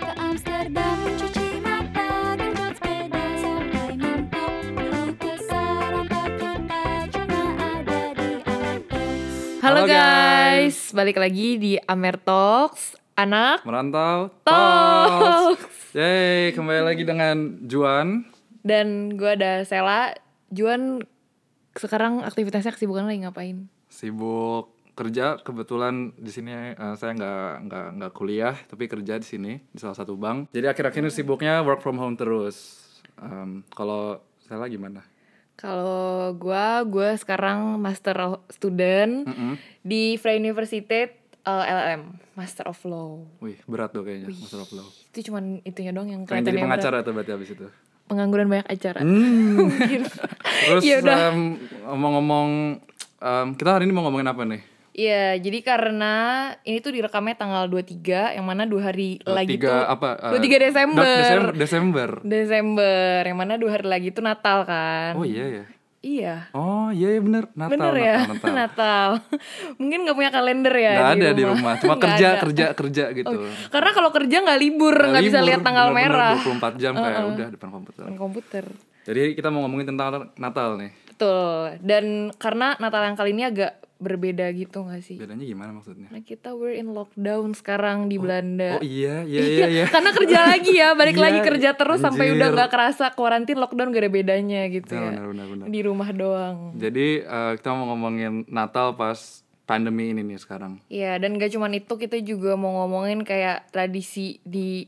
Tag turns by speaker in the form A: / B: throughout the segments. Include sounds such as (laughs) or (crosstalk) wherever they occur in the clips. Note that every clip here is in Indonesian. A: Amsterdam mencuci mata dengan sepeda sampai mentok Lalu ke sarang pakai baju cuma ada di Amerika
B: Halo,
C: Halo,
B: guys. balik lagi di Amer Talks Anak
C: Merantau Talks.
B: Talks.
C: Yeay, kembali lagi dengan Juan.
B: Dan gue ada Sela, Juan sekarang aktivitasnya kesibukan lagi ngapain?
C: Sibuk kerja kebetulan di sini eh, saya nggak nggak nggak kuliah tapi kerja di sini di salah satu bank. Jadi akhir-akhir ini sibuknya work from home terus. Em, kalau saya gimana?
B: Kalau gue, gue sekarang master student
C: Mm-mm.
B: di Free University eh, LLM, Master of Law.
C: Wih berat tuh kayaknya Mas Roflo.
B: Itu cuman itunya dong yang
C: Pengen
B: kelihatan
C: jadi
B: yang berat.
C: pengacara tuh berarti abis itu.
B: Pengangguran banyak acara. Mungkin.
C: Terus
B: Ya udah.
C: em, ngomong-ngomong, em, kita hari ini mau ngomongin apa nih?
B: Iya, jadi karena ini tuh direkamnya tanggal 23 yang mana dua hari lagi
C: Tiga
B: tuh
C: apa? eh,
B: 23 Desember.
C: Desember. Desember.
B: Desember, yang mana dua hari lagi tuh Natal kan?
C: Oh iya ya.
B: Iya,
C: Oh iya iya bener Natal
B: bener
C: Natal
B: ya (laughs)
C: Natal.
B: Natal. Mungkin nggak punya kalender ya?
C: Nggak ada di rumah,
B: (laughs)
C: cuma
B: Nggak
C: kerja
B: ada. Oh,
C: kerja kerja gitu.
B: Karena kalau kerja nggak libur,
C: Nah,
B: nggak bisa
C: libur,
B: lihat tanggal
C: bener-bener
B: merah.
C: 24 jam kayak udah depan komputer.
B: Main komputer.
C: Jadi kita mau ngomongin tentang Natal nih.
B: Betul. Dan karena Natal yang kali ini agak berbeda gitu nggak sih?
C: Bedanya gimana maksudnya?
B: Karena kita we're in lockdown sekarang di Belanda.
C: Oh iya iya iya
B: (laughs)
C: iya.
B: Karena kerja lagi ya, balik
C: Iya,
B: lagi kerja terus sampai udah
C: anjir.
B: nggak kerasa kuarantin lockdown gak ada bedanya gitu
C: Benar,
B: ya.
C: benar, benar, benar.
B: Di rumah doang.
C: Jadi eh, kita mau ngomongin Natal pas pandemi ini nih sekarang.
B: Iya, dan gak cuman itu kita juga mau ngomongin kayak tradisi di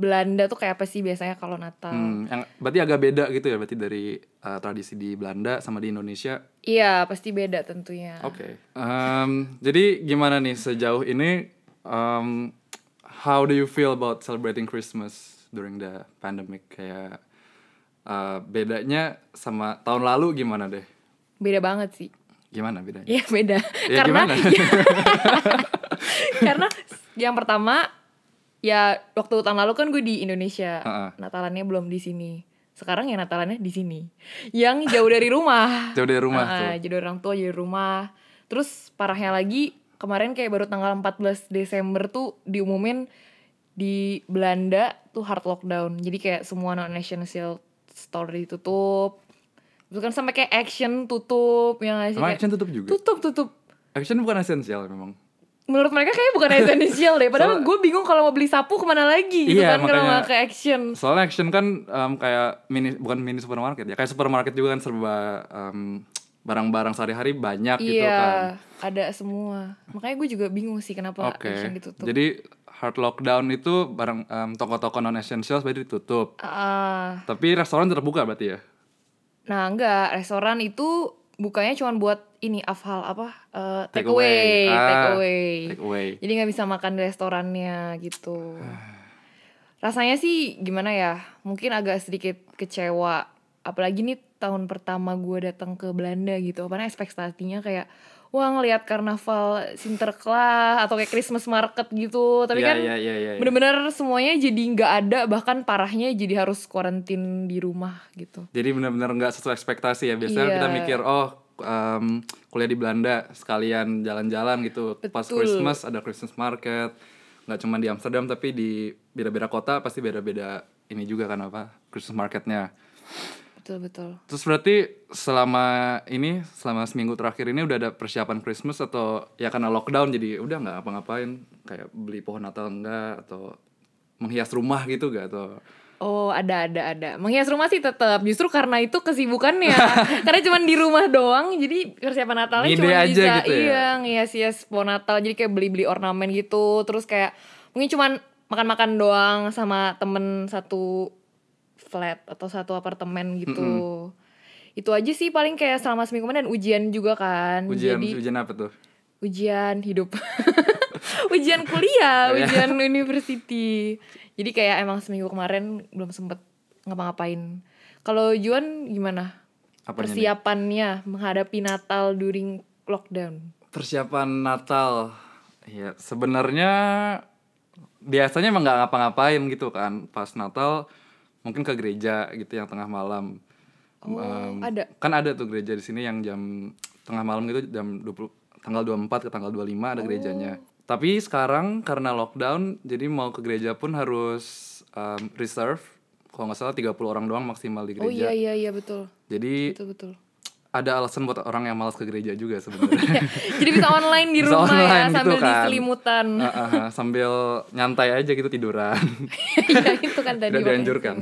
B: Belanda tuh kayak apa sih biasanya kalau Natal.
C: Hmm, yang berarti agak beda gitu ya berarti dari eh, tradisi di Belanda sama di Indonesia.
B: Iya, pasti beda tentunya.
C: Oke. Em, jadi gimana nih sejauh ini em, how do you feel about celebrating Christmas during the pandemic kayak eh, bedanya sama tahun lalu gimana deh?
B: Beda banget sih. (laughs)
C: Gimana bedanya?
B: Iya, beda.
C: Ya,
B: karena
C: gimana?
B: ya, (laughs) karena yang pertama ya waktu tahun lalu kan gue di Indonesia.
C: Ha-ha.
B: Natalannya belum di sini. Sekarang ya Natalannya di sini. Yang jauh dari
C: (laughs)
B: rumah.
C: (laughs) Jauh dari rumah
B: Ah,
C: tuh.
B: jadi orang tua jadi rumah terus parahnya lagi kemarin kayak baru tanggal 14 Desember tuh diumumin di Belanda tuh hard lockdown jadi kayak semua non essential store ditutup itu kan sampai kayak action tutup ya yang ngasih
C: Emang action tutup juga?
B: tutup tutup
C: Action bukan esensial memang.
B: menurut mereka kayaknya bukan essential deh padahal
C: Soalnya-
B: gue bingung kalau mau beli sapu kemana lagi gitu
C: Iya,
B: kan kalau
C: makanya-
B: nggak ke action
C: Soalnya action kan em, kayak mini bukan mini supermarket ya. Kayak supermarket juga kan serba em, barang-barang sehari-hari banyak gitu
B: iya
C: kan.
B: ada semua makanya gue juga bingung sih kenapa
C: Oke.
B: action ditutup
C: Jadi hard lockdown itu barang em, toko-toko non essential berarti ditutup.
B: Ah.
C: Tapi restoran tetap buka berarti ya?
B: Nah enggak, restoran itu bukanya cuma buat ini afhal apa eh, take
C: Take away.
B: away,
C: Ah,
B: take away.
C: take away.
B: Jadi nggak bisa makan di restorannya gitu.
C: (sighs)
B: Rasanya sih gimana ya? Mungkin agak sedikit kecewa. Apalagi nih tahun pertama gue datang ke Belanda gitu. Apalagi ekspektasinya kayak wah ngelihat karnaval Sinterklaas atau kayak Christmas market gitu. Tapi
C: Iya,
B: kan
C: iya, iya, iya, iya.
B: bener-bener semuanya jadi nggak ada. Bahkan parahnya jadi harus kuarantin di rumah gitu.
C: Jadi benar-benar nggak sesuai ekspektasi ya. Biasanya
B: Iya.
C: kita mikir oh em, kuliah di Belanda sekalian jalan-jalan gitu. Pas
B: Betul.
C: Christmas ada Christmas market. Nggak cuma di Amsterdam tapi di beda-beda kota pasti beda-beda ini juga kan apa Christmas marketnya.
B: Betul betul.
C: Terus berarti selama ini selama seminggu terakhir ini udah ada persiapan Christmas atau ya karena lockdown jadi udah nggak apa-ngapain kayak beli pohon Natal enggak atau menghias rumah gitu gak atau
B: Oh ada ada ada menghias rumah sih tetap justru karena itu kesibukannya (laughs) karena cuman di rumah doang jadi persiapan Natalnya
C: Ngide
B: cuma
C: aja
B: bisa
C: gitu ya?
B: iya nghias hias pohon Natal jadi kayak beli beli ornamen gitu terus kayak mungkin cuman makan makan doang sama temen satu flat atau satu apartemen gitu itu aja sih paling kayak selama seminggu kemarin dan ujian juga kan
C: ujian
B: jadi
C: ujian apa tuh?
B: ujian hidup (laughs) ujian
C: Iya.
B: kuliah ujian university jadi kayak emang seminggu kemarin belum sempet ngapa-ngapain kalau Juan gimana
C: Apanya nih?
B: persiapannya menghadapi Natal during lockdown
C: persiapan Natal ya sebenarnya biasanya emang nggak ngapa-ngapain gitu kan pas Natal mungkin ke gereja gitu yang tengah malam
B: Oh,
C: Em,
B: ada.
C: kan ada tuh gereja di sini yang jam tengah malam gitu jam 20 tanggal 24 ke tanggal
B: Oh.
C: 25 ada gerejanya tapi sekarang karena lockdown jadi mau ke gereja pun harus um, reserve kalau nggak salah 30 orang doang maksimal di gereja.
B: Oh iya iya iya betul.
C: Jadi
B: Betul betul.
C: ada alasan buat orang yang malas ke gereja juga
B: (laughs)
C: sebenarnya.
B: Jadi bisa online di
C: Bisa
B: rumah
C: online
B: ya
C: gitu
B: sambil
C: kan.
B: diselimutan.
C: Ah, ah, ah, sambil nyantai aja gitu tiduran.
B: (laughs) Iya itu kan tadi.
C: Tidak
B: makanya.
C: dianjurkan.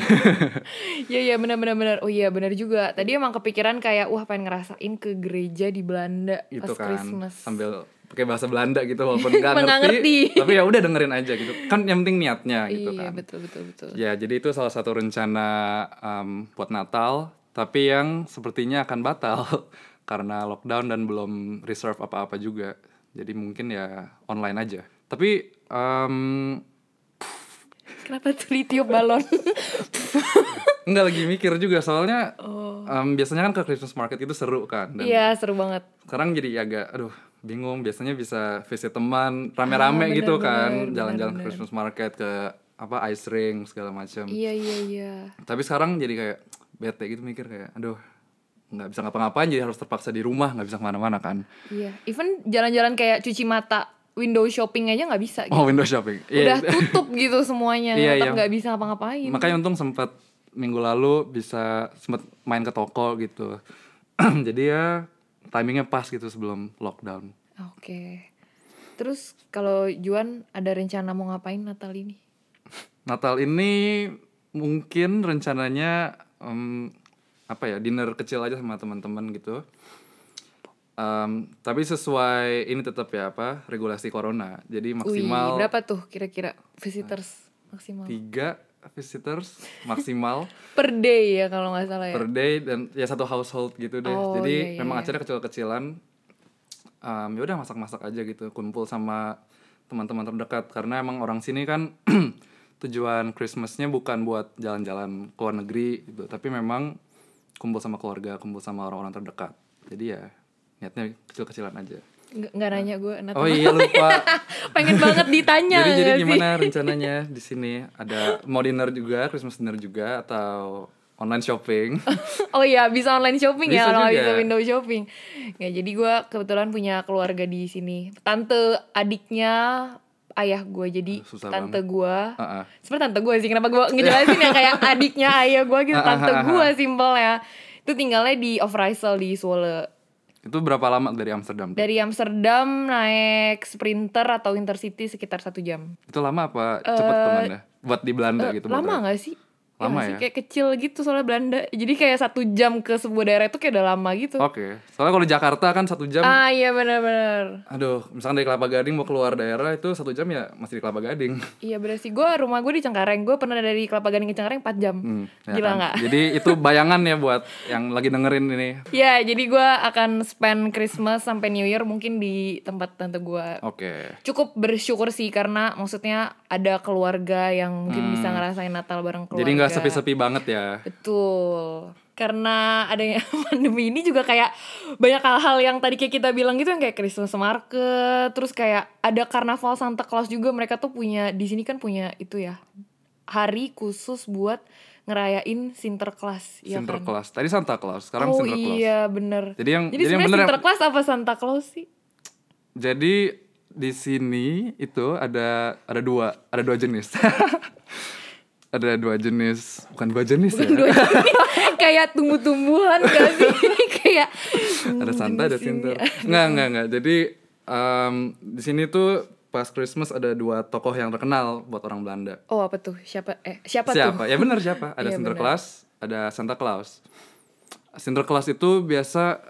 B: (laughs) Iya iya benar benar benar. Oh iya benar juga. Tadi emang kepikiran kayak wah pengen ngerasain ke gereja di Belanda
C: gitu
B: pas
C: kan.
B: Christmas.
C: Sambil pakai bahasa Belanda gitu walaupun nggak
B: (laughs) Nggak
C: ngerti,
B: ngerti.
C: tapi ya udah dengerin aja gitu. Kan yang penting niatnya gitu
B: iya
C: kan.
B: betul betul betul.
C: Ya, jadi itu salah satu rencana um, buat Natal, tapi yang sepertinya akan batal (laughs) karena lockdown dan belum reserve apa-apa juga. Jadi mungkin ya online aja. Tapi um,
B: Kenapa tuh ditiup balon?
C: nggak lagi mikir juga soalnya um, biasanya kan ke Christmas market itu seru kan. (laughs)
B: Oh.
C: Dan Hmm.
B: Iya seru banget.
C: sekarang jadi agak aduh bingung biasanya bisa visit teman
B: Ah,
C: rame-rame
B: bener,
C: gitu kan
B: bener,
C: jalan-jalan ke
B: bener,
C: Christmas market ke apa ice ring segala macam
B: Iya iya iya.
C: tapi sekarang jadi kayak bete gitu mikir kayak aduh nggak bisa ngapa-ngapain jadi harus terpaksa di rumah nggak bisa kemana-mana kan
B: Iya. Even jalan-jalan kayak cuci mata, window shopping aja nggak bisa. Gitu.
C: oh window shopping
B: Udah
C: Iya.
B: tutup gitu semuanya.
C: Iya,
B: tetap
C: iya.
B: nggak bisa ngapa-ngapain.
C: makanya untung sempat minggu lalu bisa sempat main ke toko gitu (clears throat) jadi ya timingnya pas gitu sebelum lockdown
B: Ah, Oke. Terus kalau Juan ada rencana mau ngapain Natal ini?
C: Natal ini mungkin rencananya em, apa ya dinner kecil aja sama teman-teman gitu. Em, tapi sesuai ini tetap ya apa regulasi corona.
B: Wih,
C: Jadi maksimal
B: berapa tuh kira-kira visitors maksimal?
C: tiga visitors maksimal
B: Per day ya kalau nggak salah ya.
C: per day dan ya satu household gitu deh.
B: Oh, iya,
C: Jadi
B: iya,
C: memang
B: iya.
C: acara kecil-kecilan. Em, ya udah masak-masak aja gitu, kumpul sama teman-teman terdekat karena emang orang sini kan (clears throat) tujuan Christmasnya bukan buat jalan-jalan ke luar negeri gitu, tapi memang kumpul sama keluarga, kumpul sama orang-orang terdekat. Jadi ya niatnya kecil-kecilan aja.
B: Nggak- Nggak nanya gue Natal.
C: Oh iya lupa.
B: (laughs) Pengen banget ditanya.
C: jadi jadi
B: nggak sih?
C: gimana rencananya di sini? Ada mau dinner juga, Christmas dinner juga atau online
B: (laughs)
C: shopping?
B: Oh iya, bisa online shopping ya
C: Bisa
B: kalau nggak
C: juga.
B: bisa window shopping. Ya jadi gue kebetulan punya keluarga di sini. Tante adiknya ayah gue jadi
C: Susah
B: tante gue.
C: Ah, ah.
B: Sebenarnya tante gue sih kenapa
C: (laughs)
B: gue ngejelasin ya kayak adiknya ayah gue gitu.
C: Ah, ah,
B: Tante
C: ah, ah.
B: gue simple ya. Itu tinggalnya di Overijssel di Zwolle.
C: Itu berapa lama dari Amsterdam? tuh?
B: Dari Amsterdam naik Sprinter atau Intercity sekitar satu jam.
C: Itu lama apa cepet temannya? Buat di Belanda
B: Eh,
C: gitu
B: lama
C: motornya.
B: nggak sih? nggak
C: Lama
B: sih?
C: ya?
B: Kayak kecil gitu soalnya Belanda. Jadi kayak satu jam ke sebuah daerah itu kayak udah lama gitu.
C: Oke. Soalnya kalau di Jakarta kan satu Oh, jam.
B: Ah iya benar-benar.
C: Aduh, misalkan dari Kelapa Gading mau keluar daerah itu satu jam ya masih di Kelapa Gading. (laughs)
B: Iya benar sih. Gue rumah gue di Cengkareng. Gue pernah dari Kelapa Gading ke Cengkareng 4 jam.
C: Hmm, ya
B: Gila
C: kan?
B: nggak?
C: Jadi itu bayangan ya buat yang lagi dengerin ini.
B: Ya jadi gue akan spend Christmas sampai New Year mungkin di tempat tante gue.
C: Oke.
B: Cukup bersyukur sih karena maksudnya ada keluarga yang mungkin bisa ngerasain Natal bareng keluarga.
C: Hmm. Jadi nggak sepi-sepi banget ya.
B: Betul. Karena adanya (laughs) pandemi ini juga kayak banyak hal-hal yang tadi kayak kita bilang gitu yang kayak Christmas market, terus kayak ada karnaval Santa Claus juga mereka tuh punya di sini kan punya itu ya. Hari khusus buat ngerayain Sinterklas ya kan.
C: Sinterklas. Tadi Santa Claus, sekarang
B: oh
C: Sinterklas.
B: iya bener.
C: Jadi yang
B: Jadi
C: jadi yang
B: sebenarnya
C: bener yang-
B: Sinterklas apa Santa Claus sih? (laughs)
C: Jadi di sini itu ada ada dua, ada dua jenis. (laughs) ada dua jenis, bukan dua jenis ya.
B: Dua ini (laughs) kayak tumbuh-tumbuhan gak sih? (laughs) kayak hmm,
C: ada Santa ada Sinter
B: Iya.
C: (laughs) nggak nggak nggak jadi em, di sini tuh pas Christmas ada dua tokoh yang terkenal buat orang Belanda
B: Oh apa tuh? Siapa eh siapa,
C: siapa
B: tuh?
C: ya benar
B: (laughs)
C: siapa ada
B: Iya,
C: Sinterklaas ada Santa Claus Sinterklaas itu biasa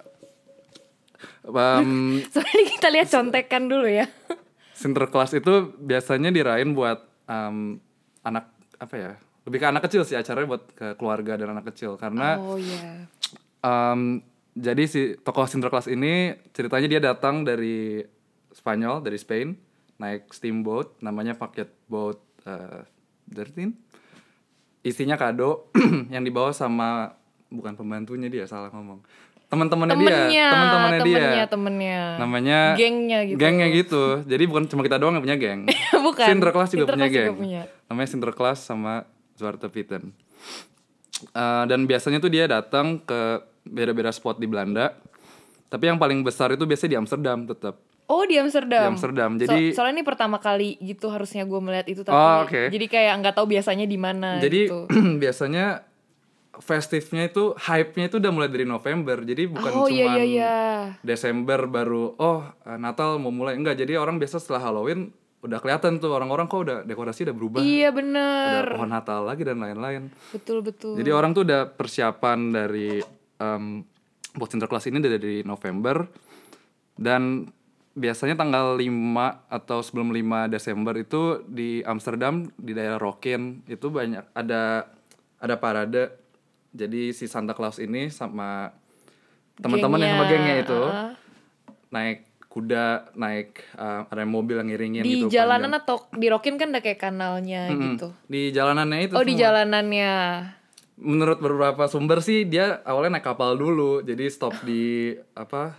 B: (laughs)
C: em,
B: Soalnya kita lihat contekan dulu ya.
C: Sinterklaas itu biasanya dirain buat em, anak apa ya lebih ke anak kecil sih acaranya buat ke keluarga dan anak kecil karena
B: Oh iya.
C: Em, jadi si tokoh Sinterklas ini ceritanya dia datang dari Spanyol, dari Spain, naik steamboat, namanya paket boat eh, 13. Isinya kado (clears throat) yang dibawa sama bukan pembantunya dia salah ngomong. Teman-temannya dia,
B: Temennya,
C: teman-temannya dia.
B: temennya, temennya.
C: Namanya
B: Gengnya gitu.
C: Gengnya gitu. Jadi bukan cuma kita doang yang punya geng.
B: (laughs) Bukan.
C: Sinterklas juga punya
B: Sinterklas juga
C: geng.
B: punya.
C: Namanya Sinterklas sama Zwarte Pieten. Eh, dan biasanya tuh dia datang ke beda-beda spot di Belanda. Tapi yang paling besar itu biasanya di Amsterdam tetap.
B: Oh di Amsterdam.
C: Di Amsterdam,
B: So-
C: jadi-
B: soalnya ini pertama kali gitu harusnya gue melihat itu tapi
C: Oh, oke.
B: jadi kayak nggak tahu biasanya di mana.
C: Jadi
B: gitu.
C: (clears throat) biasanya festifnya itu hype-nya itu udah mulai dari November. Jadi bukan
B: oh
C: cuman
B: iya iya iya.
C: Desember baru oh eh, Natal mau mulai enggak. Jadi orang biasa setelah Halloween udah kelihatan tuh orang-orang kok udah dekorasi udah berubah.
B: Iya
C: Udah
B: bener.
C: pohon Natal lagi dan lain-lain.
B: Betul betul.
C: Jadi orang tuh udah persiapan dari em buat Sinterklas ini udah dari November dan biasanya tanggal 5 atau sebelum 5 Desember itu di Amsterdam di daerah Rokin itu banyak ada ada parade. Jadi si Santa Claus ini sama teman-teman yang sama
B: Gengnya,
C: gengnya itu
B: ah.
C: naik kuda, naik eh, ada mobil yang ngiringin
B: di
C: gitu.
B: jalanan
C: panjang.
B: atau di Rokin kan ada kayak kanalnya
C: Mm-mm.
B: gitu.
C: Di jalanannya itu
B: Oh di
C: semua.
B: jalanannya.
C: menurut beberapa sumber sih dia awalnya naik kapal dulu jadi stop di apa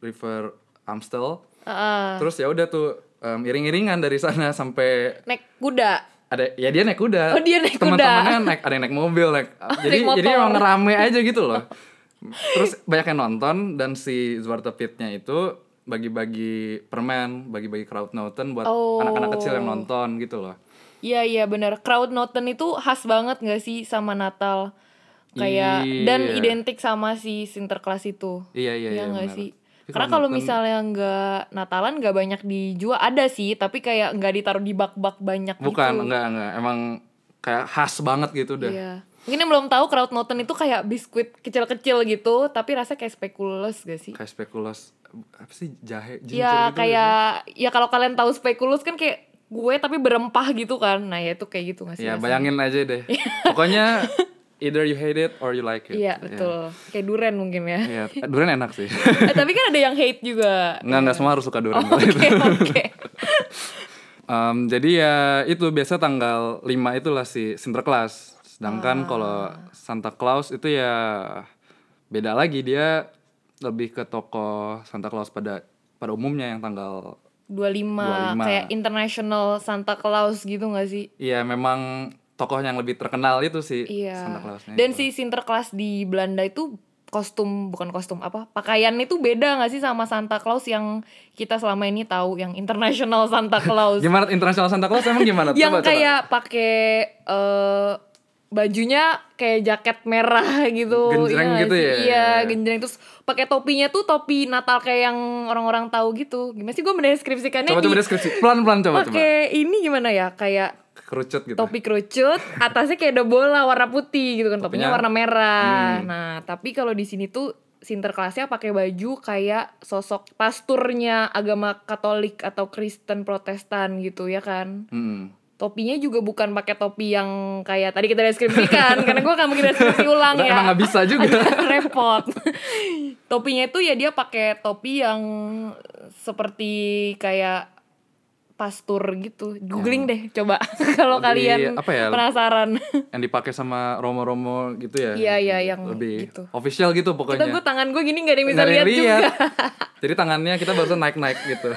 C: river Amstel
B: Heeh.
C: terus ya udah tuh em, iring-iringan dari sana sampai
B: Naik kuda.
C: ada ya dia naik kuda
B: Oh, dia naik kuda.
C: teman-temannya naik ada yang naik mobil naik jadi
B: (laughs) naik
C: jadi
B: motor.
C: emang rame aja gitu
B: (laughs)
C: loh terus banyak yang nonton dan si Zwarte Pietnya itu bagi-bagi permen bagi-bagi Krautnoten buat
B: Oh.
C: anak-anak kecil yang nonton gitu loh
B: Iya iya benar. Crowd Norton itu khas banget gak sih sama Natal? Kayak dan
C: Iya.
B: identik sama si Sinterklas itu.
C: iya iya iya,
B: Iya nggak
C: benar.
B: sih?
C: Tapi
B: Karena kalau
C: Krautnoten-
B: misalnya nggak Natalan nggak banyak dijual ada sih, tapi kayak nggak ditaruh di bak-bak banyak
C: Bukan,
B: gitu.
C: enggak, enggak. Emang kayak khas banget gitu udah.
B: Iya. Mungkin yang belum tahu crowd Norton itu kayak biskuit kecil-kecil gitu, tapi rasanya kayak spekulus gak sih?
C: Kayak spekulas apa sih jahe ginger
B: Iya
C: gitu
B: kayak ya kalau kalian tahu spekulus kan kayak gue tapi berempah gitu kan. Nah, ya itu kayak gitu nggak
C: nggak sih?
B: sih?
C: Ya,
B: rasanya?
C: bayangin aja deh.
B: (laughs)
C: Pokoknya either you hate it or you like it. Ya.
B: Iya, betul. Kayak duren mungkin ya.
C: Iya, Eh, durian enak sih. (laughs)
B: eh, tapi kan ada yang hate juga.
C: Enggak, enggak semua harus suka durian.
B: Oh, (laughs) Oke, oke.
C: (laughs) Em, jadi ya itu biasa tanggal 5 itulah si Sinterklas.
B: Ah.
C: Sedangkan kalau Santa Claus itu ya beda lagi dia lebih ke tokoh Santa Claus pada pada umumnya yang tanggal
B: 25,
C: 25.
B: kayak international Santa Claus gitu gak sih?
C: Iya memang tokoh yang lebih terkenal itu sih Santa
B: Iya.
C: Clausnya.
B: Dan
C: itu.
B: si Sinterklas di Belanda itu kostum bukan kostum apa pakaian itu beda gak sih sama Santa Claus yang kita selama ini tahu yang international Santa Claus
C: gimana internasional Santa Claus emang gimana?
B: yang
C: Coba, coba.
B: kayak pakai eh, bajunya kayak jaket merah (laughs) gitu
C: Genjreng
B: iya nggak
C: gitu
B: sih?
C: ya?
B: iya genjreng terus pakai topinya tuh topi Natal kayak yang orang-orang tahu gitu gimana sih gue mendeskripsikannya
C: coba coba
B: di-
C: deskripsi pelan-pelan coba coba.
B: pakai ini gimana ya kayak
C: Kerucut gitu.
B: topi kerucut atasnya kayak ada bola warna putih gitu kan topinya
C: Topinya-
B: warna merah
C: Hmm.
B: nah tapi kalau di sini tuh Sinterklasnya pakai baju kayak sosok pasturnya agama Katolik atau Kristen Protestan gitu ya kan
C: Mm-mm.
B: topinya juga bukan pakai topi yang kayak tadi kita deskripsikan karena gue gak mungkin deskripsi ulang
C: Udah,
B: ya
C: Emang nggak bisa juga.
B: (laughs) repot topinya itu ya dia pakai topi yang seperti kayak pastur gitu googling deh coba (laughs) kalau
C: Lebih,
B: kalian
C: apa ya?
B: penasaran
C: yang dipakai sama Romo-Romo gitu ya.
B: Iya, iya, yang
C: lebih
B: gitu.
C: official gitu
B: kita
C: pokoknya.
B: gue tangan gue gini gak ada yang bisa
C: Nggak ada
B: lihat
C: yang
B: juga
C: lihat. (laughs) Jadi tangannya kita barusan naik-naik
B: (laughs)
C: gitu.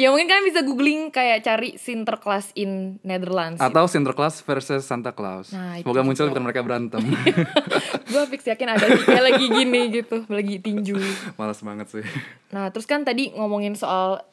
B: ya mungkin kalian bisa googling kayak cari Sinterklaas in Netherlands gitu.
C: Atau Sinterklas versus Santa Claus.
B: Nah, itu
C: Semoga muncul
B: juga.
C: bukan mereka
B: (laughs)
C: berantem.
B: gue fix yakin ada sih, kayak lagi gini gitu lagi tinju
C: Males banget sih.
B: Nah, terus kan tadi ngomongin soal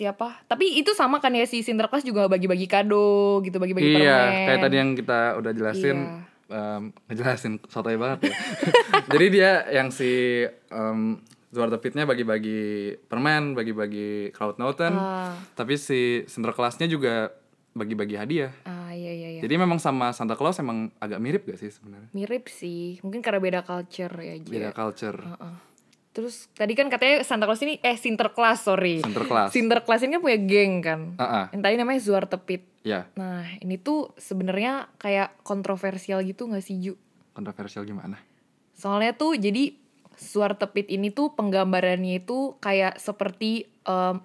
B: siapa? Tapi itu sama kan ya si Sinterklas juga bagi-bagi kado gitu, bagi-bagi
C: iya,
B: permen.
C: kayak tadi yang kita udah jelasin,
B: Iya.
C: em, ngejelasin sotoy banget ya. (laughs) Jadi dia yang si em Zwarte Pietnya bagi-bagi permen, bagi-bagi Krautnoten,
B: Ah.
C: tapi si Sinterklasnya juga bagi-bagi hadiah.
B: Ah, iya iya iya.
C: Jadi memang sama Santa Claus emang agak mirip gak sih sebenarnya?
B: Mirip sih. Mungkin karena beda culture ya, Ji.
C: Beda culture.
B: Heeh. Terus tadi kan katanya Santa Claus ini eh Sinterklas, sorry.
C: Sinterklas.
B: Sinterklas ini kan punya geng kan.
C: Ah, ah.
B: Yang tadi namanya Zwarte Piet.
C: Ya,
B: Nah, ini tuh sebenarnya kayak kontroversial gitu gak sih, Ju?
C: kontroversial gimana?
B: Soalnya tuh jadi suar tepit ini tuh penggambarannya itu kayak seperti em,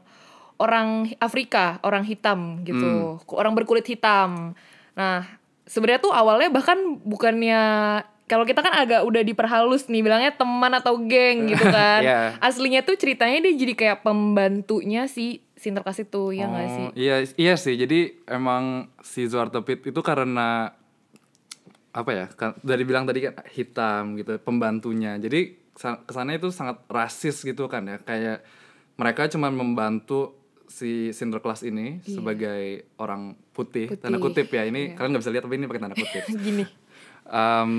B: orang Afrika, orang hitam
C: Hmm.
B: gitu, orang berkulit hitam. Nah, sebenarnya tuh awalnya bahkan bukannya kalau kita kan agak udah diperhalus nih bilangnya teman atau geng
C: (laughs)
B: gitu kan.
C: Iya.
B: Aslinya tuh ceritanya dia jadi kayak pembantunya si Sinterklas itu ya nggak
C: Oh,
B: sih? (laughs)
C: Iya, iya sih. Jadi emang si Zwarte Piet itu karena apa ya? kan- Dari bilang tadi kan hitam gitu, pembantunya. Jadi sa- kesana itu sangat rasis gitu kan ya, kayak mereka cuma membantu si Sinterklas ini sebagai orang putih, tanda
B: Iya. Putih,
C: kutip ya ini
B: iya.
C: kalian nggak bisa lihat tapi ini pakai tanda kutip
B: gini
C: Em,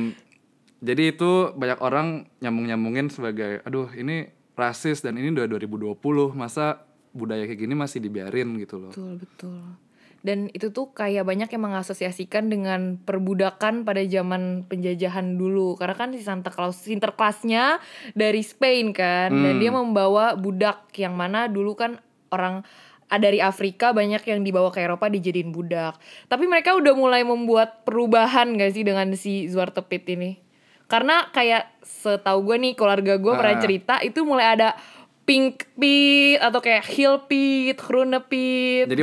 C: jadi itu banyak orang nyambung-nyambungin sebagai aduh ini rasis dan ini udah 2020 masa budaya kayak gini masih dibiarin gitu loh.
B: betul betul dan itu tuh kayak banyak yang mengasosiasikan dengan perbudakan pada zaman penjajahan dulu karena kan si Santa Claus Sinterklasnya dari Spain kan dan
C: Hmm.
B: dia membawa budak yang mana dulu kan orang ah, dari Afrika banyak yang dibawa ke Eropa dijadiin budak tapi mereka udah mulai membuat perubahan gak sih dengan si Zuartepit ini karena kayak setahu gue nih keluarga gue pernah
C: Ah.
B: cerita itu mulai ada pink pit atau kayak heel pit, groene pit.
C: Jadi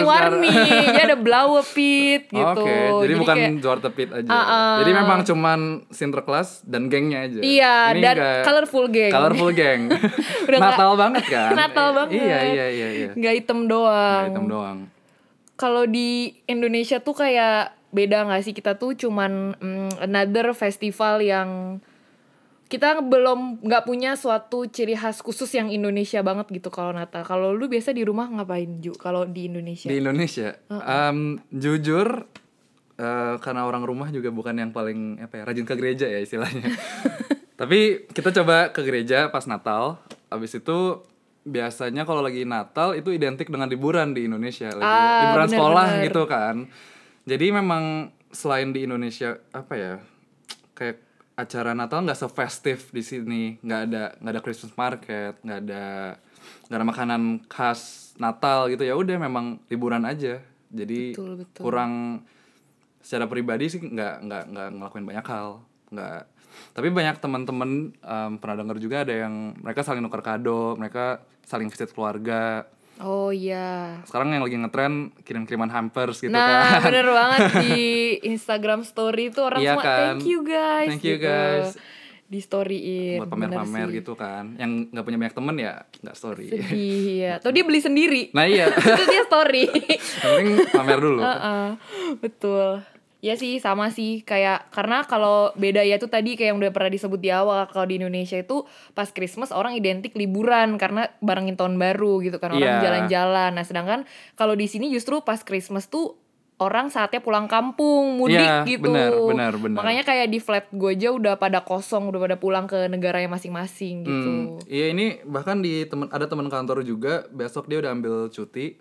B: Gitu. kayak
C: itu
B: warni-warni. Jadi ada blauwe pit gitu.
C: (laughs) Oke, jadi, bukan
B: kayak-
C: Duarte Pit aja.
B: Ah, ah.
C: Jadi memang cuman Sinterklas dan gengnya aja.
B: Iya, dan
C: nggak-
B: colorful gang.
C: Colorful gang.
B: (laughs) Udah nggak-
C: Natal banget kan?
B: (laughs) Natal
C: I-
B: banget. Um,
C: Iya, iya, iya, iya.
B: nggak hitam doang.
C: Nggak Hitam doang.
B: Kalau di Indonesia tuh kayak beda nggak sih kita tuh cuman mm, another festival yang kita belum nggak punya suatu ciri khas khusus yang Indonesia banget gitu kalau Natal. Kalau lu biasa di rumah ngapain Ju? Kalau di Indonesia?
C: Di Indonesia,
B: Uh-uh.
C: em, jujur eh, karena orang rumah juga bukan yang paling apa ya, rajin ke gereja ya
B: (laughs)
C: istilahnya. Tapi kita coba ke gereja pas Natal. Habis itu biasanya kalau lagi Natal itu identik dengan liburan di Indonesia, lagi
B: Ah,
C: liburan
B: bener,
C: sekolah
B: bener.
C: gitu kan. Jadi memang selain di Indonesia apa ya? Kayak acara Natal nggak se-festive di sini, nggak ada nggak ada Christmas market, nggak ada nggak ada makanan khas Natal gitu ya udah memang liburan aja. Jadi
B: Betul, betul.
C: kurang secara pribadi sih nggak nggak nggak ngelakuin banyak hal nggak tapi banyak teman-teman em, pernah denger juga ada yang mereka saling nuker kado mereka saling visit keluarga
B: Oh iya.
C: sekarang yang lagi ngetren kirim-kiriman hampers gitu
B: nah
C: kan (laughs)
B: bener banget di Instagram story itu orang
C: Iya
B: semua
C: kan?
B: thank you guys
C: Thank you
B: gitu.
C: guys.
B: di storyin
C: buat pamer-pamer gitu kan yang nggak punya banyak temen ya nggak story
B: sedih ya atau dia beli sendiri
C: (laughs) nah iya (laughs)
B: itu dia story
C: yang penting pamer dulu
B: Heeh, betul ya sih sama sih kayak karena kalau beda ya tuh tadi kayak yang udah pernah disebut di awal kalau di Indonesia itu pas Christmas orang identik liburan karena barengin tahun baru gitu kan orang
C: Iya.
B: jalan-jalan nah sedangkan kalau di sini justru pas Christmas tuh orang saatnya pulang kampung mudik
C: Iya,
B: gitu
C: benar, benar, benar.
B: makanya kayak di flat gue aja udah pada kosong udah pada pulang ke negaranya masing-masing gitu
C: Hmm, iya ini bahkan di temen ada teman kantor juga besok dia udah ambil cuti.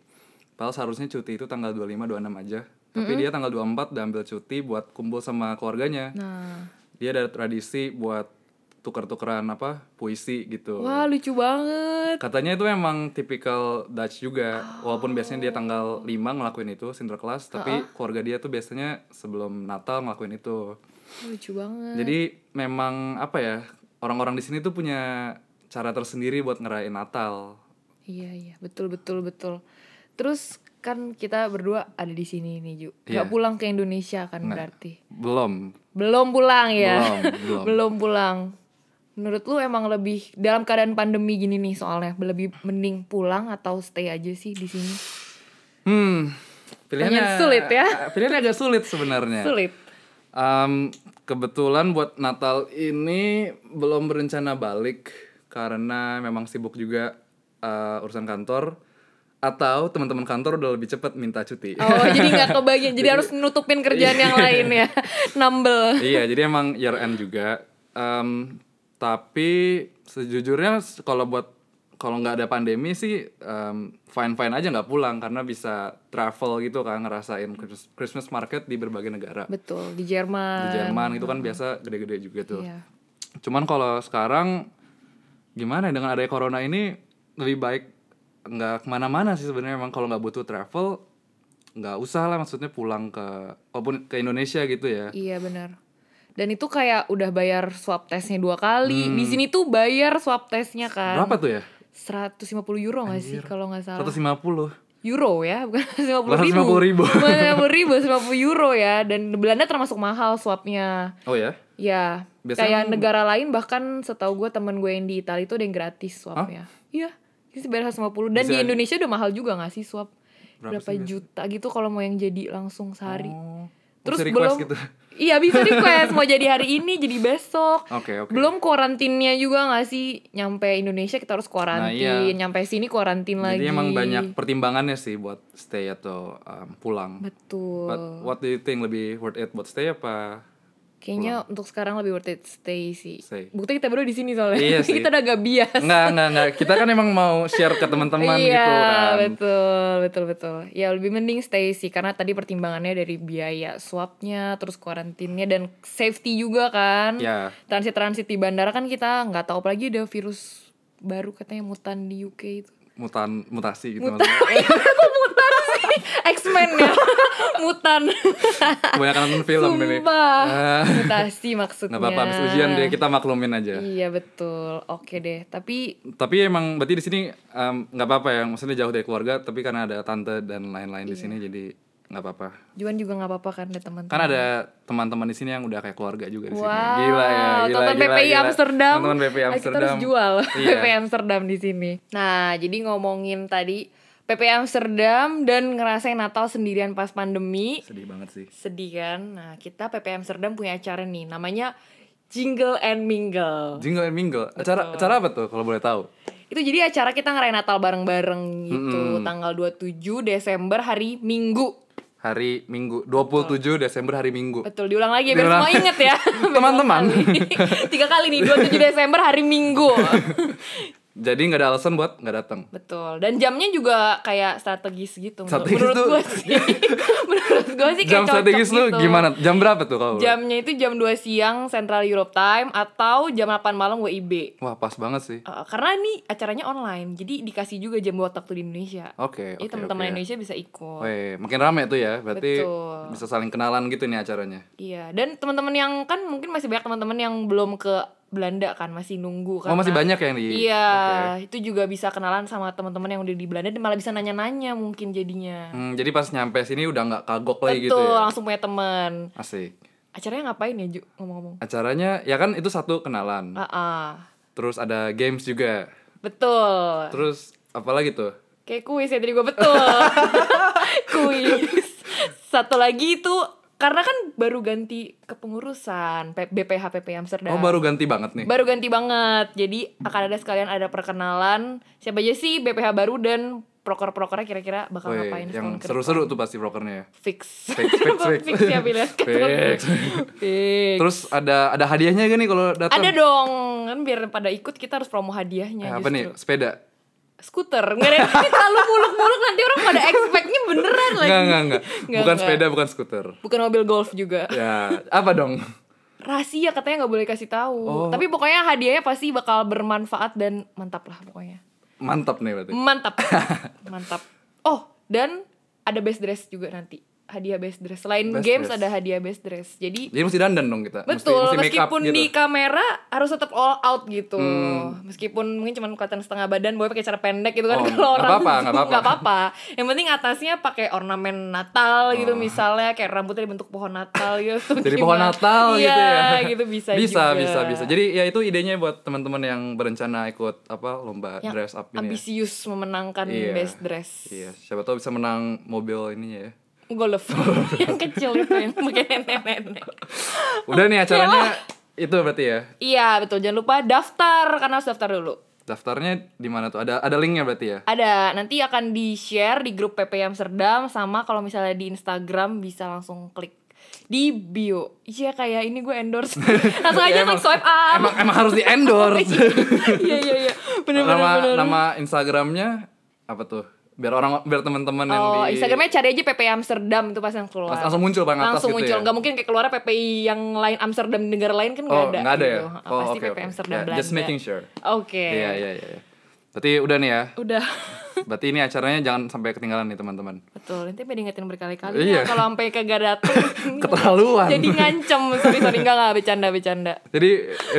C: Padahal seharusnya cuti itu tanggal 25 26 aja. Tapi dia tanggal 24 udah ambil cuti buat kumpul sama keluarganya.
B: nah
C: Dia ada tradisi buat tuker-tukeran apa? puisi gitu.
B: wah lucu banget
C: Katanya itu emang tipikal Dutch juga. Walaupun biasanya dia tanggal 5 ngelakuin itu Sinterklaas, tapi keluarga dia tuh biasanya sebelum Natal ngelakuin itu.
B: lucu banget
C: Jadi memang apa ya orang-orang di sini tuh punya cara tersendiri buat ngerayain Natal.
B: Iya iya betul betul betul. Terus kan kita berdua ada di sini nih Ju. Gak
C: Iya.
B: pulang ke Indonesia kan berarti.
C: Belum.
B: Belum pulang ya. (laughs)
C: Belum, belum.
B: pulang. Menurut lu emang lebih dalam keadaan pandemi gini nih soalnya lebih mending pulang atau stay aja sih di sini?
C: Hmm. Pilihannya
B: Pertanyaan sulit ya.
C: Pilihannya agak sulit sebenarnya.
B: Sulit.
C: Em, kebetulan buat Natal ini belum berencana balik karena memang sibuk juga eh, urusan kantor atau teman-teman kantor udah lebih cepat minta cuti.
B: Oh (laughs) jadi nggak kebagian. Jadi harus nutupin kerjaan yang lain ya. Nambel.
C: (laughs) iya jadi emang year end juga Em, tapi sejujurnya s- kalau buat kalau nggak ada pandemi sih fine fine aja nggak pulang karena bisa travel gitu kan ngerasain Christ- Christmas market di berbagai negara
B: Betul di
C: di
B: Jerman.
C: Jerman itu kan biasa gede-gede juga tuh
B: Iya.
C: cuman kalau sekarang gimana ya, dengan adanya corona ini lebih baik nggak kemana-mana sih sebenarnya emang kalau nggak butuh travel nggak usah lah maksudnya pulang ke walaupun ke Indonesia gitu ya
B: Iya benar. Dan itu kayak udah bayar swab tesnya dua kali. Di sini tuh bayar swab tesnya kan.
C: Hmm. berapa tuh ya
B: 150 euro gak sih kalau nggak salah
C: 150
B: euro ya bukan (laughs) 150 ribu
C: 150
B: (laughs) 150 ribu
C: ribu.
B: 150 euro ya dan Belanda termasuk mahal swabnya
C: Oh ya?
B: ya kayak
C: Biasanya-
B: negara lain bahkan setahu gue temen gue yang di Italia itu ada yang gratis swabnya iya jadi bayar 150 dan di
C: Bisa-
B: Indonesia udah mahal juga gak sih swab
C: Berapa
B: berapa, juta gitu kalau mau yang jadi langsung sehari Terus
C: Oh, request
B: belum (laughs)
C: gitu.
B: Iya bisa request
C: (laughs)
B: mau jadi hari ini jadi besok.
C: Oke, oke.
B: Belum kuarantinnya juga gak sih nyampe Indonesia kita harus kuarantin,
C: iya.
B: nyampe sini kuarantin lagi.
C: Jadi emang banyak pertimbangannya sih buat stay atau um, pulang.
B: Betul.
C: But what do you think lebih worth it buat stay apa?
B: Kayaknya untuk sekarang lebih worth it stay sih.
C: Stay.
B: Bukti kita berdua di sini soalnya. (laughs)
C: Iya sih.
B: kita udah gak bias.
C: Enggak, enggak, enggak. Kita kan emang mau share ke
B: (laughs) Iya,
C: teman-teman gitu kan.
B: betul, betul, betul. Ya lebih mending stay sih karena tadi pertimbangannya dari biaya swabnya, terus kuarantinnya dan safety juga kan.
C: Ya.
B: Transit-transit di bandara kan kita nggak tahu apalagi ada virus baru katanya mutan di UK itu.
C: Mutan mutasi gitu
B: Mutan.
C: maksudnya.
B: Aku mutan sih. X-Men ya. (laughs) mutan.
C: Eh, Kebanyakan nonton film ini.
B: Sumpah.
C: Ah,
B: Mutasi maksudnya.
C: Nggak apa-apa, habis ujian deh kita ya. maklumin aja.
B: Iya betul. Oke deh. Tapi
C: Tapi emang berarti di sini em, nggak apa-apa ya, maksudnya jauh dari keluarga, tapi karena ada tante dan lain-lain
B: Iya.
C: di sini jadi nggak apa-apa.
B: Juan juga nggak apa-apa kan ada teman-teman.
C: Kan ada teman-teman di sini yang udah kayak keluarga juga di sini.
B: Iya. Wow,
C: Gila ya, gila
B: tonton
C: gila.
B: PPI
C: gila.
B: Amsterdam.
C: Tonton PPI
B: Ah, Kita
C: Amsterdam.
B: harus jual
C: (laughs) Iya.
B: PPI Amsterdam di sini. Nah, jadi ngomongin tadi PPI Amsterdam dan ngerasain Natal sendirian pas pandemi.
C: Sedih banget sih.
B: Sedih kan? Nah, kita PPI Amsterdam punya acara nih namanya Jingle and Mingle.
C: Jingle and Mingle. Acara acara apa tuh kalau boleh tahu?
B: Itu jadi acara kita ngerayain Natal bareng-bareng gitu tanggal 27 Desember hari Minggu.
C: Hari Minggu, 27 Desember hari Minggu.
B: Betul, diulang lagi ya, biar
C: Diulang.
B: semua inget ya. Biar
C: (laughs) Teman-teman.
B: dua kali. (laughs) Tiga kali nih, 27 Desember hari
C: (laughs)
B: Minggu.
C: Jadi nggak ada alasan buat nggak datang.
B: Betul, dan jamnya juga kayak strategis gitu. menur-
C: Strategis
B: menurut
C: tuh-
B: gue sih.
C: (laughs)
B: menurut gue sih kayak
C: Jam
B: cocok
C: strategis lu
B: gitu.
C: gimana? Jam berapa tuh kalau? boleh?
B: Jamnya itu jam 2 siang Central Europe Time atau jam 8 malam WIB.
C: Wah, pas banget sih.
B: Eh, karena ini acaranya online, jadi dikasih juga jam waktu di Indonesia.
C: Oke,
B: Jadi
C: oke,
B: teman-teman
C: oke. ya.
B: Indonesia bisa ikut.
C: Weh, makin rame tuh ya. Berarti
B: Oh. Betul.
C: bisa saling kenalan gitu nih acaranya.
B: Iya, dan teman-teman yang kan mungkin masih banyak teman-teman yang belum ke Belanda kan masih nunggu kan.
C: Oh, masih banyak yang di-
B: Iya, itu juga bisa kenalan sama teman-teman yang udah di Belanda dan malah bisa nanya-nanya mungkin jadinya.
C: Hmm, jadi pas nyampe sini udah nggak kagok lagi gitu
B: Betul,
C: ya.
B: langsung punya teman.
C: Asik.
B: Acaranya ngapain ya, Ju? Ngomong-ngomong.
C: Acaranya ya kan itu satu kenalan.
B: Ah, ah.
C: Terus ada games juga.
B: Betul.
C: Terus apa lagi tuh?
B: Kayak kuis ya tadi gue
C: (laughs)
B: betul. kuis. Satu lagi itu karena kan baru ganti kepengurusan P- BPH PP Amsterdam.
C: Oh, baru ganti banget nih.
B: baru ganti banget jadi akan ada sekalian ada perkenalan siapa aja sih BPH baru dan proker-prokernya kira-kira bakal
C: Weh,
B: ngapain setahun
C: yang
B: ke
C: seru-seru tuh pasti prokernya ya.
B: depan. (laughs) fix
C: Fix, fix, fix.
B: fix ya pilihan
C: (laughs) Fix.
B: fix
C: Terus ada ada hadiahnya gak nih kalau datang?
B: ada dong kan biar pada ikut kita harus promo hadiahnya
C: Eh,
B: justru
C: apa nih? Sepeda.
B: skuter nggak ada ini (laughs) terlalu muluk-muluk nanti orang pada expectnya beneran lagi
C: Enggak, enggak, enggak.
B: (laughs) Nggak,
C: Bukan
B: nggak.
C: sepeda, bukan skuter.
B: bukan mobil golf juga
C: Ya, apa dong? (laughs)
B: rahasia katanya nggak boleh kasih tahu
C: Oh.
B: tapi pokoknya hadiahnya pasti bakal bermanfaat dan mantap lah pokoknya
C: Mantap nih berarti. (laughs)
B: Mantap. Mantap. Oh, dan ada best dress juga nanti. Hadiah best dress. Selain
C: Best
B: games
C: dress.
B: ada hadiah best dress. Jadi
C: Jadi mesti dandan dong kita. Mesti-
B: betul,
C: mesti make up
B: meskipun
C: gitu. Hmm.
B: di kamera harus tetap all out gitu. Meskipun mungkin cuma kelihatan setengah badan, boleh pakai cara pendek gitu kan (laughs)
C: Oh,
B: kalau
C: nggak
B: orang Zoom,
C: apa-apa, nggak apa-apa.
B: nggak apa-apa. Yang penting atasnya pakai ornamen Natal gitu misalnya kayak rambutnya dibentuk pohon Natal gitu. Terus
C: (laughs) Oh. (laughs) Jadi pohon
B: gimana?
C: Natal gitu ya.
B: Iya, gitu bisa
C: (laughs) Bisa,
B: juga.
C: bisa, bisa. Jadi ya itu idenya buat teman-teman yang berencana ikut apa lomba
B: Yang
C: dress up ini. Ya.
B: ambisius memenangkan
C: Iya.
B: best dress.
C: Iya, siapa tahu bisa menang mobil ininya ya.
B: Golf (laughs) yang kecil itu yang pakai nenek-nenek. (laughs)
C: Udah nih acaranya itu berarti ya.
B: Iya betul jangan lupa daftar karena harus daftar dulu.
C: Daftarnya di mana tuh? Ada ada linknya berarti ya.
B: Ada nanti akan di share di grup PP Amsterdam sama kalau misalnya di Instagram bisa langsung klik di bio. Iya kayak ini gue endorse. langsung aja
C: (laughs) Iya,
B: klik
C: emang-
B: swipe up.
C: Emang emang harus di endorse.
B: (laughs) Iya iya iya. Bener bener
C: nama
B: bener.
C: nama Instagramnya apa tuh? Biar orang biar teman-teman yang
B: Oh,
C: di
B: Instagramnya cari aja PP Amsterdam itu pas yang keluar.
C: Langs- langsung muncul paling atas
B: Langsung
C: gitu
B: muncul.
C: ya?
B: Nggak mungkin kayak keluar PPI yang lain Amsterdam negara lain kan nggak
C: Oh,
B: ada.
C: nggak ada ya?
B: gitu.
C: Oh,
B: Pasti
C: oke,
B: PP
C: oke.
B: Amsterdam
C: Ya,
B: Belanda.
C: just making sure.
B: Oke.
C: Iya, iya, iya. iya. Berarti udah nih ya.
B: Udah.
C: Berarti ini acaranya jangan sampai ketinggalan nih teman-teman.
B: Betul, nanti pengen ingetin berkali-kali
C: Iya.
B: ya, kalau sampai kagak dateng
C: (laughs) Keterlaluan.
B: Jadi ngancem, sorry sorry enggak enggak bercanda-bercanda.
C: Jadi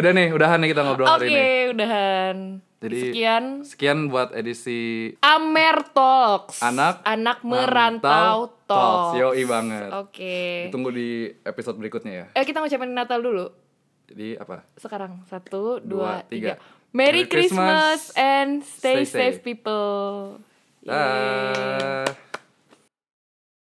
C: udah nih, udahan nih kita ngobrol
B: Oke,
C: hari ini.
B: udahan.
C: Jadi
B: sekian
C: sekian buat edisi
B: Amer Talks.
C: Anak
B: anak merantau
C: Merantau
B: Talks.
C: Talks. Yoi banget.
B: Oke.
C: ditunggu di episode berikutnya ya.
B: Eh kita ngucapin Natal dulu.
C: Jadi apa?
B: Sekarang satu, dua,
C: Dua,
B: tiga.
C: tiga.
B: Merry
C: Merry Christmas
B: Christmas and stay,
C: Stay
B: safe people. Yeay.
C: Dah.